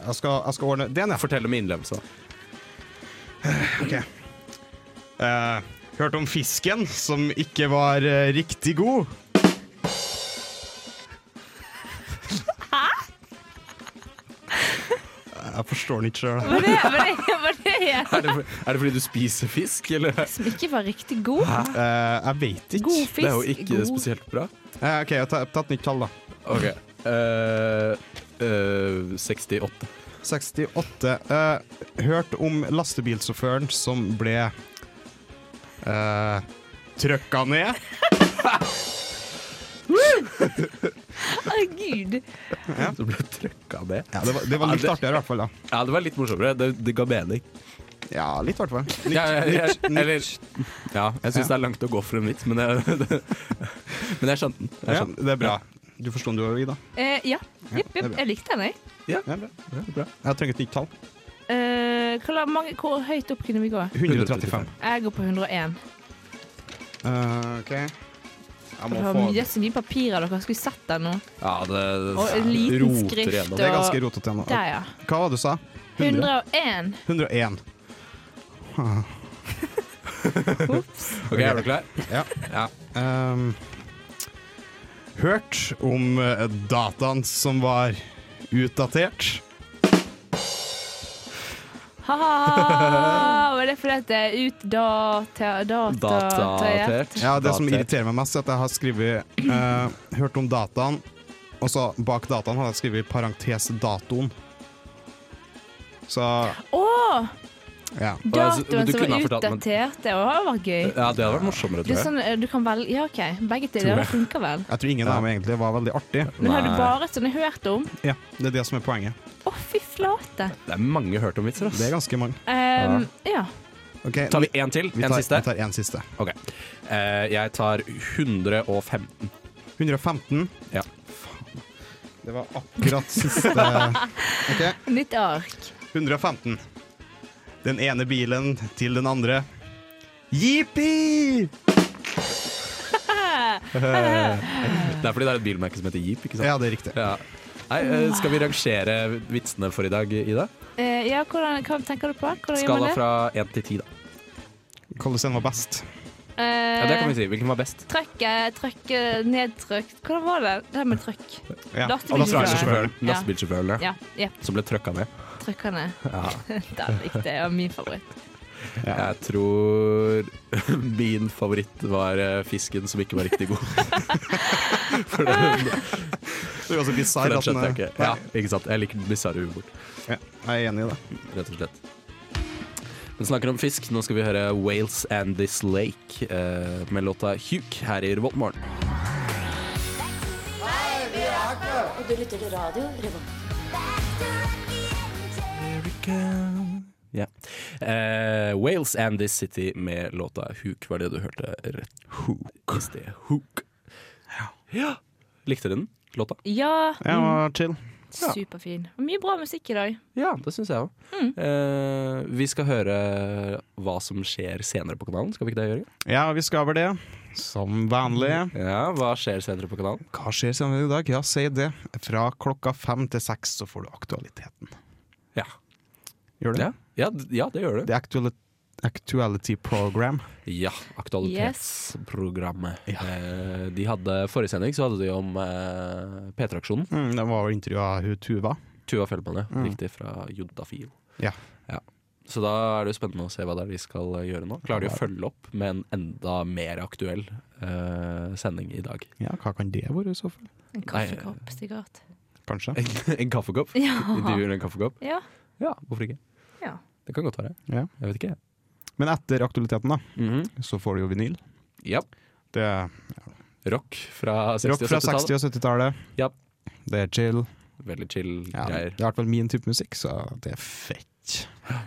F: jeg skal, jeg skal ordne Det er en jeg
B: Fortell det med innlevelse. da.
F: Eh, hørt om fisken som ikke var eh, riktig god. Hæ? Eh, Jeg forstår den ikke sjøl.
G: Var det, var det, [laughs] var det
B: Er det, for- er det fordi du spiser fisk, eller?
G: som ikke var riktig god?
F: Eh, jeg veit ikke.
G: God fisk.
B: Det er jo ikke
G: god.
B: spesielt bra.
F: Eh, OK, jeg tar, tar et nytt tall, da.
B: Ok. Eh, eh, 68.
F: 68. Eh, hørt om lastebilsjåføren som ble eh, trøkka ned.
G: Herregud.
B: Du ble trøkka med.
F: Ja, det, var, det var litt
B: Ja,
F: artigere, i hvert fall. da
B: Ja, det var litt morsommere. Det, det ga mening.
F: Ja, litt, i hvert fall. Nytt,
B: Ja, ja, ja,
F: nytt, nytt.
B: eller, ja jeg syns det er langt å gå for en vits, men jeg, [laughs] men jeg skjønte den. Jeg
F: Ja,
B: skjønte den.
F: det er bra. Du forsto den, du òg, Ida?
G: Eh, ja.
F: det
G: Jipp,
F: er
G: jipp.
F: bra.
G: Jeg likte den, jeg.
F: Ja, bra.
B: Ja, bra.
F: Jeg trenger et nytt tall.
G: Eh, hva la- mange, hvor høyt opp kunne vi gå?
F: 135.
G: Jeg går på 101.
F: Eh, OK. Jeg
G: Det
F: må
G: var
F: få
G: mye så mye papirer dere skulle sett der nå.
B: Ja, det,
G: Og en liten
B: roter
G: skrift
B: igjennom.
F: Det er ganske rotete ennå.
G: Der, ja.
F: Hva var det du sa? 100?
G: 101.
F: 101.
B: Ok, Er du klar?
F: Ja.
B: Ja.
F: Ehm, hørt om eh, dataen som var utdatert?
G: Ha-ha! Var det fordi at det er ut data... Data...
B: Datatert.
F: Ja, Det som
B: Datatert.
F: irriterer meg mest, er at jeg har skrevet eh, Hørt om dataen, og så bak dataen har jeg skrevet parentes datoen. Så
G: Å!
F: ja.
B: altså, men
G: Datoen
B: du
G: som
B: kunne
G: var
B: ha fortalt, men-
G: utdatert. Det var- var gøy.
B: Ja, det hadde vært morsommere,
G: Det
B: tror
G: er
B: jeg.
G: sånn, eh, du kan velge Ja, OK. Begge
B: Tror
G: deler
B: jeg.
G: funker vel.
F: Jeg tror ingen av dem egentlig var veldig artig.
G: Men har du
B: Nei.
G: bare sånne hørt om?
F: Ja, Det er det som er poenget.
G: Å, fy flate!
B: Det er mange hørt om vitser, ass.
F: Det er ganske mange.
G: Ehm, ja.
F: Ok,
B: Tar vi én til?
F: vi
B: En
F: tar,
B: siste?
F: Vi tar en siste.
B: Ok. Eh, jeg tar 115.
F: 115.
B: Ja.
F: Faen, Det var akkurat siste
B: [laughs]
F: OK.
G: Nytt ark.
F: 115. Den ene bilen til den andre. Jippi!
B: Det er fordi det er et bilmerke som heter Jeep, ikke sant?
F: Ja, det er riktig.
B: Ja. Nei, eh, skal vi rangere vitsene for i dag, Ida?
G: Eh, ja, hvordan, hva tenker du på? Hvordan gjør
B: Skala
G: man det? Eh.
B: fra 1 til 10, da.
F: Hvordan den var best?
B: Ja, det kan vi si. Hvilken var best?
G: Eh, Trøkket, trøkket, nedtrøkt Hvordan var det? Det her med trøkk.
F: Ja.
G: Lastebilsjåføren. Ja.
B: Lastebilsjåføren, ja.
G: Ja, ja,
B: Som ble trøkka ned.
G: trøkkene. [laughs] Den likte jeg, var min favoritt.
B: Jeg tror [laughs] min favoritt var eh, fisken som ikke var riktig god. For den,
F: Det var så
B: for
F: bisarr
B: den
F: at den
B: skjønte jeg ikke. Ja,
F: Nei,
B: ikke sant. Jeg liker den bisarre humor,
F: ja, jeg er enig i det.
B: rett og slett. Men snakker om fisk, nå skal vi høre Wales and This Lake eh, med låta Huk her i Revoltmorgen. Ja. Eh, Wales and This City med låta Hook var det du hørte rett Hook. i sted. Hook. Ja. Likte du den låta?
G: Ja,
F: Jeg var chill.
G: superfin. Og Mye bra musikk i dag.
B: Ja, det syns jeg òg. Eh, vi skal høre hva som skjer senere på kanalen. Skal vi ikke det, Jørgen?
F: Ja, vi skal over det. Som vanlig.
B: Ja, hva skjer senere på kanalen?
F: Hva skjer senere i dag? Ja, si det. Fra klokka fem til seks så får du aktualiteten.
B: Ja,
F: Gjør du det?
B: ja, ja, d- ja det gjør du.
F: Det er actuali Actuality Program.
B: Ja, Aktualitetsprogrammet. Eh, de hadde Forrige sending så hadde de om eh, P3-aksjonen.
F: Mm, det var jo intervju av hun Tuva.
B: Tuva Fellmann, ja. Riktig, fra Jodafil.
F: Ja.
B: Så da er det jo spennende å se hva det er de skal eh, gjøre nå. Klarer de å følge opp med en enda mer aktuell eh, sending i dag?
F: ja, hva kan det være i så fall?
G: En kaffekopp, sikkert.
F: Kanskje.
B: En, en kaffekopp? Intervjuer en kaffekopp?
G: Ja.
B: Ja, hvorfor ikke?
G: Ja.
B: Det kan godt være.
F: Ja.
B: Jeg vet ikke.
F: Men etter aktualiteten, da,
B: Mhm.
F: så får du jo vinyl.
B: Ja.
F: Det er
B: Rock fra 60-
F: rock
B: og
F: fra 60-
B: 70-tallet.
F: og 70-tallet.
B: Ja.
F: Det er chill.
B: Veldig chill
F: Ja, det er
B: greier.
F: i hvert fall min type musikk, så det er fett.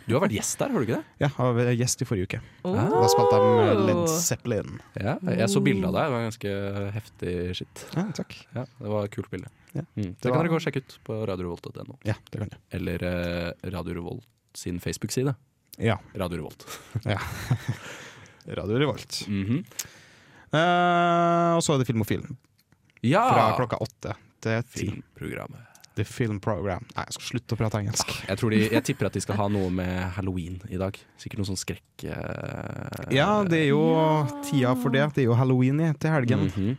B: Du har vært gjest der, har du ikke det?
F: Ja, jeg var gjest i forrige uke.
G: Oh.
F: Da spilte jeg med Led Zeppelin.
B: Ja, jeg så bilde av deg. Det var ganske heftig shit.
F: Ja, takk.
B: Ja, det var et kult bilde.
F: Ja.
B: Mm. Det,
F: Det
B: kan
F: var-
B: dere gå og sjekke ut på radiorevolt.no.
F: Ja, det kan du.
B: Eller eh, Radio Revolt sin Facebook-side.
F: Ja.
B: Radio Revolt.
F: Radio Revolt.
B: Mhm.
F: Eh, og så er det Film og film.
B: Ja!
F: Fra klokka åtte til ti.
B: Filmprogrammet.
F: The Film Program. Nei, jeg skal slutte å prate engelsk.
B: Jeg, tror de, jeg tipper at de skal ha noe med halloween i dag. Sikkert noe sånn skrekk... eh,
F: Ja, det er jo tida for det. Det er jo halloween i til helgen.
B: Mhm.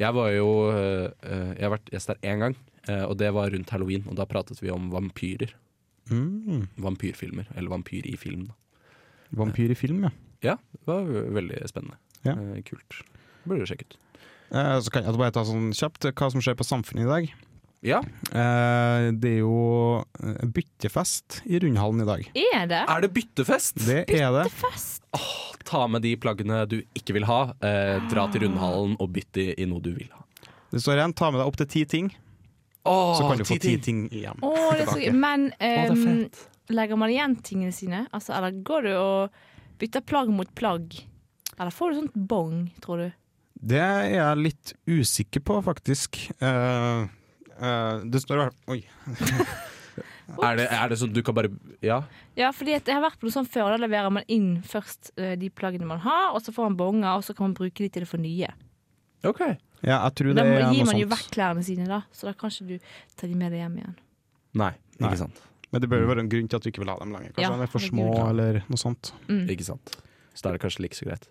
B: Jeg var jo eh, eh, Jeg har vært gjest der én gang, eh, og det var rundt halloween. Og da pratet vi om vampyrer.
F: Mm.
B: Vampyrfilmer. Eller vampyr i film, da.
F: Vampyr i film, ja.
B: Ja, det var veldig spennende.
F: Ja.
B: Eh, kult. Burde du sjekke ut.
F: Eh, så kan jeg bare ta sånn kjapt hva som skjer på samfunnet i dag.
B: Ja,
F: Eh, det er jo eh, byttefest i Rundhallen i dag.
G: Er det?
B: er det byttefest?
F: Det er det.
B: Ta med de plaggene du ikke vil ha, eh, dra til rundhallen og bytt de i noe du vil ha.
F: Det står igjen, ta med deg opp til ti ting,
B: Åh,
F: så kan du få ti
B: ti ting.
F: ting igjen.
G: Å, det er så gøy.
F: Tilbake.
G: Men
B: Å, det er
G: ehm,
B: fett.
G: legger man igjen tingene sine? Altså, eller går du og bytter plagg mot plagg? Eller får du sånt bong, tror du?
F: Det er jeg litt usikker på, faktisk. Eh, eh, det står i hvert Oi.
B: Er det, er det sånn du kan bare Ja.
G: Ja, fordi at jeg har vært på noe sånt før. Da leverer man inn først eh, de plaggene man har, og så får man bonger, og så kan man bruke de til å få nye.
B: OK.
F: Ja, jeg tror
G: Da
F: det er
G: må-
F: noe
G: gir man jo vekk
F: sånt.
G: klærne sine, da, så da kan ikke du ta de med deg hjem igjen.
B: Nei,
F: Nei.
B: ikke sant.
F: Men det bør jo være en grunn til at du ikke vil ha dem lenger. Kanskje
G: Ja,
F: de er for
G: herregud.
F: små, eller noe sånt.
B: Ikke sant. Så da er det kanskje like så greit.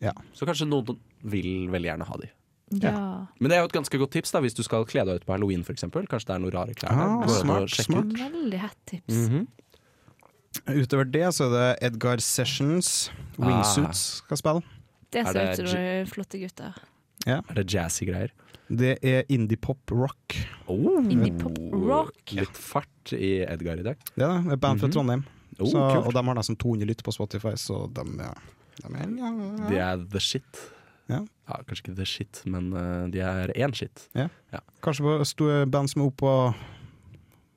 F: Ja.
B: Så kanskje noen vil veldig gjerne ha de.
G: Ja.
B: Men det er jo et ganske godt tips da hvis du skal kle deg ut på halloween f.eks. Kanskje det er noen rare klær der.
F: Ah,
B: Går det an å
F: smart,
B: sjekke
F: smart.
B: ut? Mhm.
G: Veldig hett tips.
B: Mm.
F: Utover det så er det Edgar Sessions,
B: Ah.
F: Wingsuits, skal spille.
G: Det
B: Er
G: ser
B: det
G: ut som
B: j-
G: noen flotte gutter.
B: Er det jazzy greier?
F: Det er indie-pop rock.
B: Oh,
G: Indie-pop rock.
B: Litt fart i Edgar i dag.
F: Det er det. Et band fra Trondheim.
B: Oh,
F: så,
B: kult.
F: og de har nesten 200 lytt på Spotify, så de, ja, de er ja, ja.
B: De er the shit.
F: Ja.
B: Kanskje ikke the shit, men eh, de er én shit.
F: Kanskje på store band som er oppe og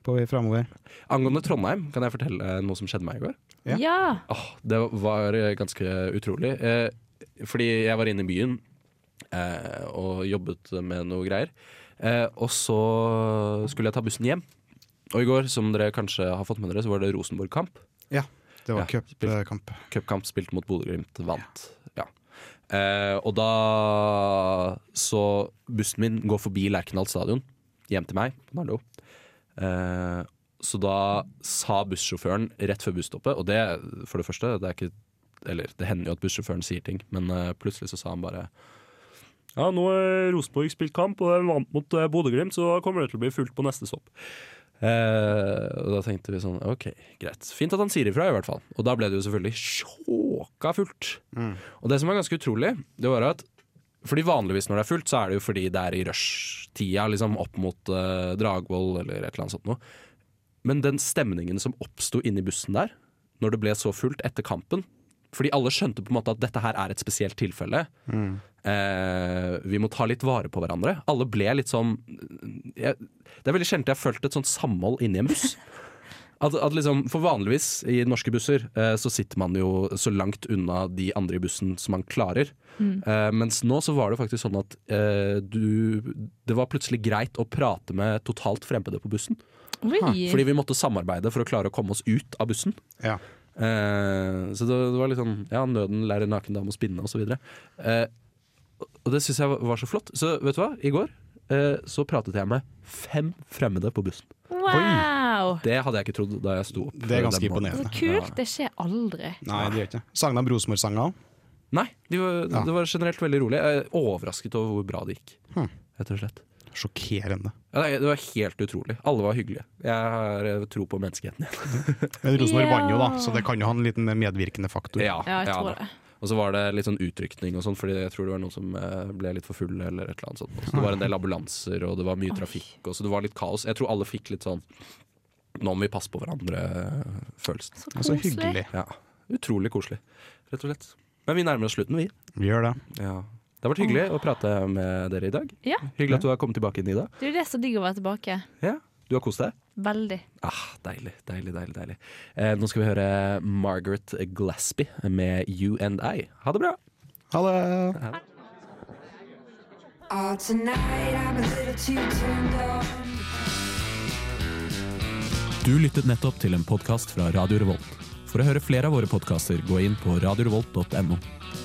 F: på vei fremover.
B: Angående Trondheim, kan jeg fortelle eh, noe som skjedde meg i går?
F: Ja.
G: Ja.
B: Åh, det var eh, ganske utrolig. Eh, fordi jeg var inne i byen eh, og jobbet med noe greier. Eh, og så skulle jeg ta bussen hjem. Og i går, som dere kanskje har fått med dere, så var det Rosenborg-kamp.
F: Ja, det var eh,
B: Ja,
F: cupkamp.
B: Cupkamp spilt mot Bodø-Glimt, vant. Ja. Eh, og da så bussen min går forbi Lerkendal stadion, hjem til meg på Nardo. Eh, så da sa bussjåføren rett før busstoppet, og det for det første det er ikke, Eller det hender jo at bussjåføren sier ting, men eh, plutselig så sa han bare ja, nå har Rosenborg spilt kamp, og de vant mot eh, Bodø-Glimt, så da kommer det til å bli fullt på neste stopp. Eh, og da tenkte vi sånn, ok, greit. Fint at han sier ifra, i hvert fall. Og da ble det jo selvfølgelig sjåka fullt. Og det som var ganske utrolig, det var at fordi vanligvis når det er fullt, så er det jo fordi det er i rushtida, liksom opp mot eh, Dragvoll eller et eller annet sånt noe. Men den stemningen som oppsto inni bussen der, når det ble så fullt etter kampen Fordi alle skjønte på en måte at dette her er et spesielt tilfelle. Eh, vi må ta litt vare på hverandre. Alle ble litt sånn jeg, Det er veldig sjelden jeg har følt et sånt samhold inni en buss. At, at liksom, for vanligvis i norske busser eh, så sitter man jo så langt unna de andre i bussen som man klarer. Eh, mens nå så var det faktisk sånn at eh, du Det var plutselig greit å prate med totalt fremmede på bussen. Fordi
G: Oi.
B: vi måtte samarbeide for å klare å komme oss ut av bussen.
F: Ja.
B: Eh, så det, det var litt sånn Ja, nøden lærer naken dame å spinne, osv. Eh, og det syns jeg var- var så flott. Så vet du hva? I går eh, så pratet jeg med fem fremmede på bussen.
G: Wow!
B: Det hadde jeg ikke trodd da jeg sto opp.
F: Det er ganske
B: den morgenen.
G: Så
F: imponerende.
G: kult. Det skjer aldri.
F: Nei, det gjør ikke det. Sang de Rosenborg-sanger òg?
B: Nei, de var, det var generelt veldig rolig. Jeg er overrasket over hvor bra det gikk,
F: Hm.
B: rett og slett.
F: Sjokkerende.
B: Ja, nei, det var helt utrolig. Alle var hyggelige. Jeg har eh, tro på menneskeheten [laughs] igjen.
F: Men Rosenborg
G: Ja.
F: vant jo, da, så det kan jo ha en liten medvirkende faktor.
G: Ja, jeg tror
B: da.
G: det.
B: Og så var det litt sånn utrykning og sånn, fordi jeg tror det var noen som eh, ble litt for full eller et eller annet sånt. Så det var en del ambulanser, og det var mye trafikk, og så det var litt kaos. Jeg tror alle fikk litt sånn nå må vi passe på hverandre-følelsen.
G: Så
F: Og så
G: koselig.
F: Altså, hyggelig.
B: Ja, Utrolig koselig, rett og slett. Men vi nærmer oss slutten, vi.
F: Vi gjør det.
B: Det har vært hyggelig å prate med dere i dag.
G: Ja.
B: Hyggelig at du har kommet tilbake, Nida.
G: Det er jo det som digg å være tilbake.
B: Ja. Du har kost deg?
G: Veldig.
B: Ah, deilig, deilig, deilig. deilig. Eh, nå skal vi høre Margaret Glaspie med You and I. Ha det bra!
F: Ha det!
J: Oh, tonight I'm a little too turned on.
K: Du lyttet nettopp til en podkast fra Radio Revolt. For å høre flere av våre podkaster, gå inn på radiorevolt.no.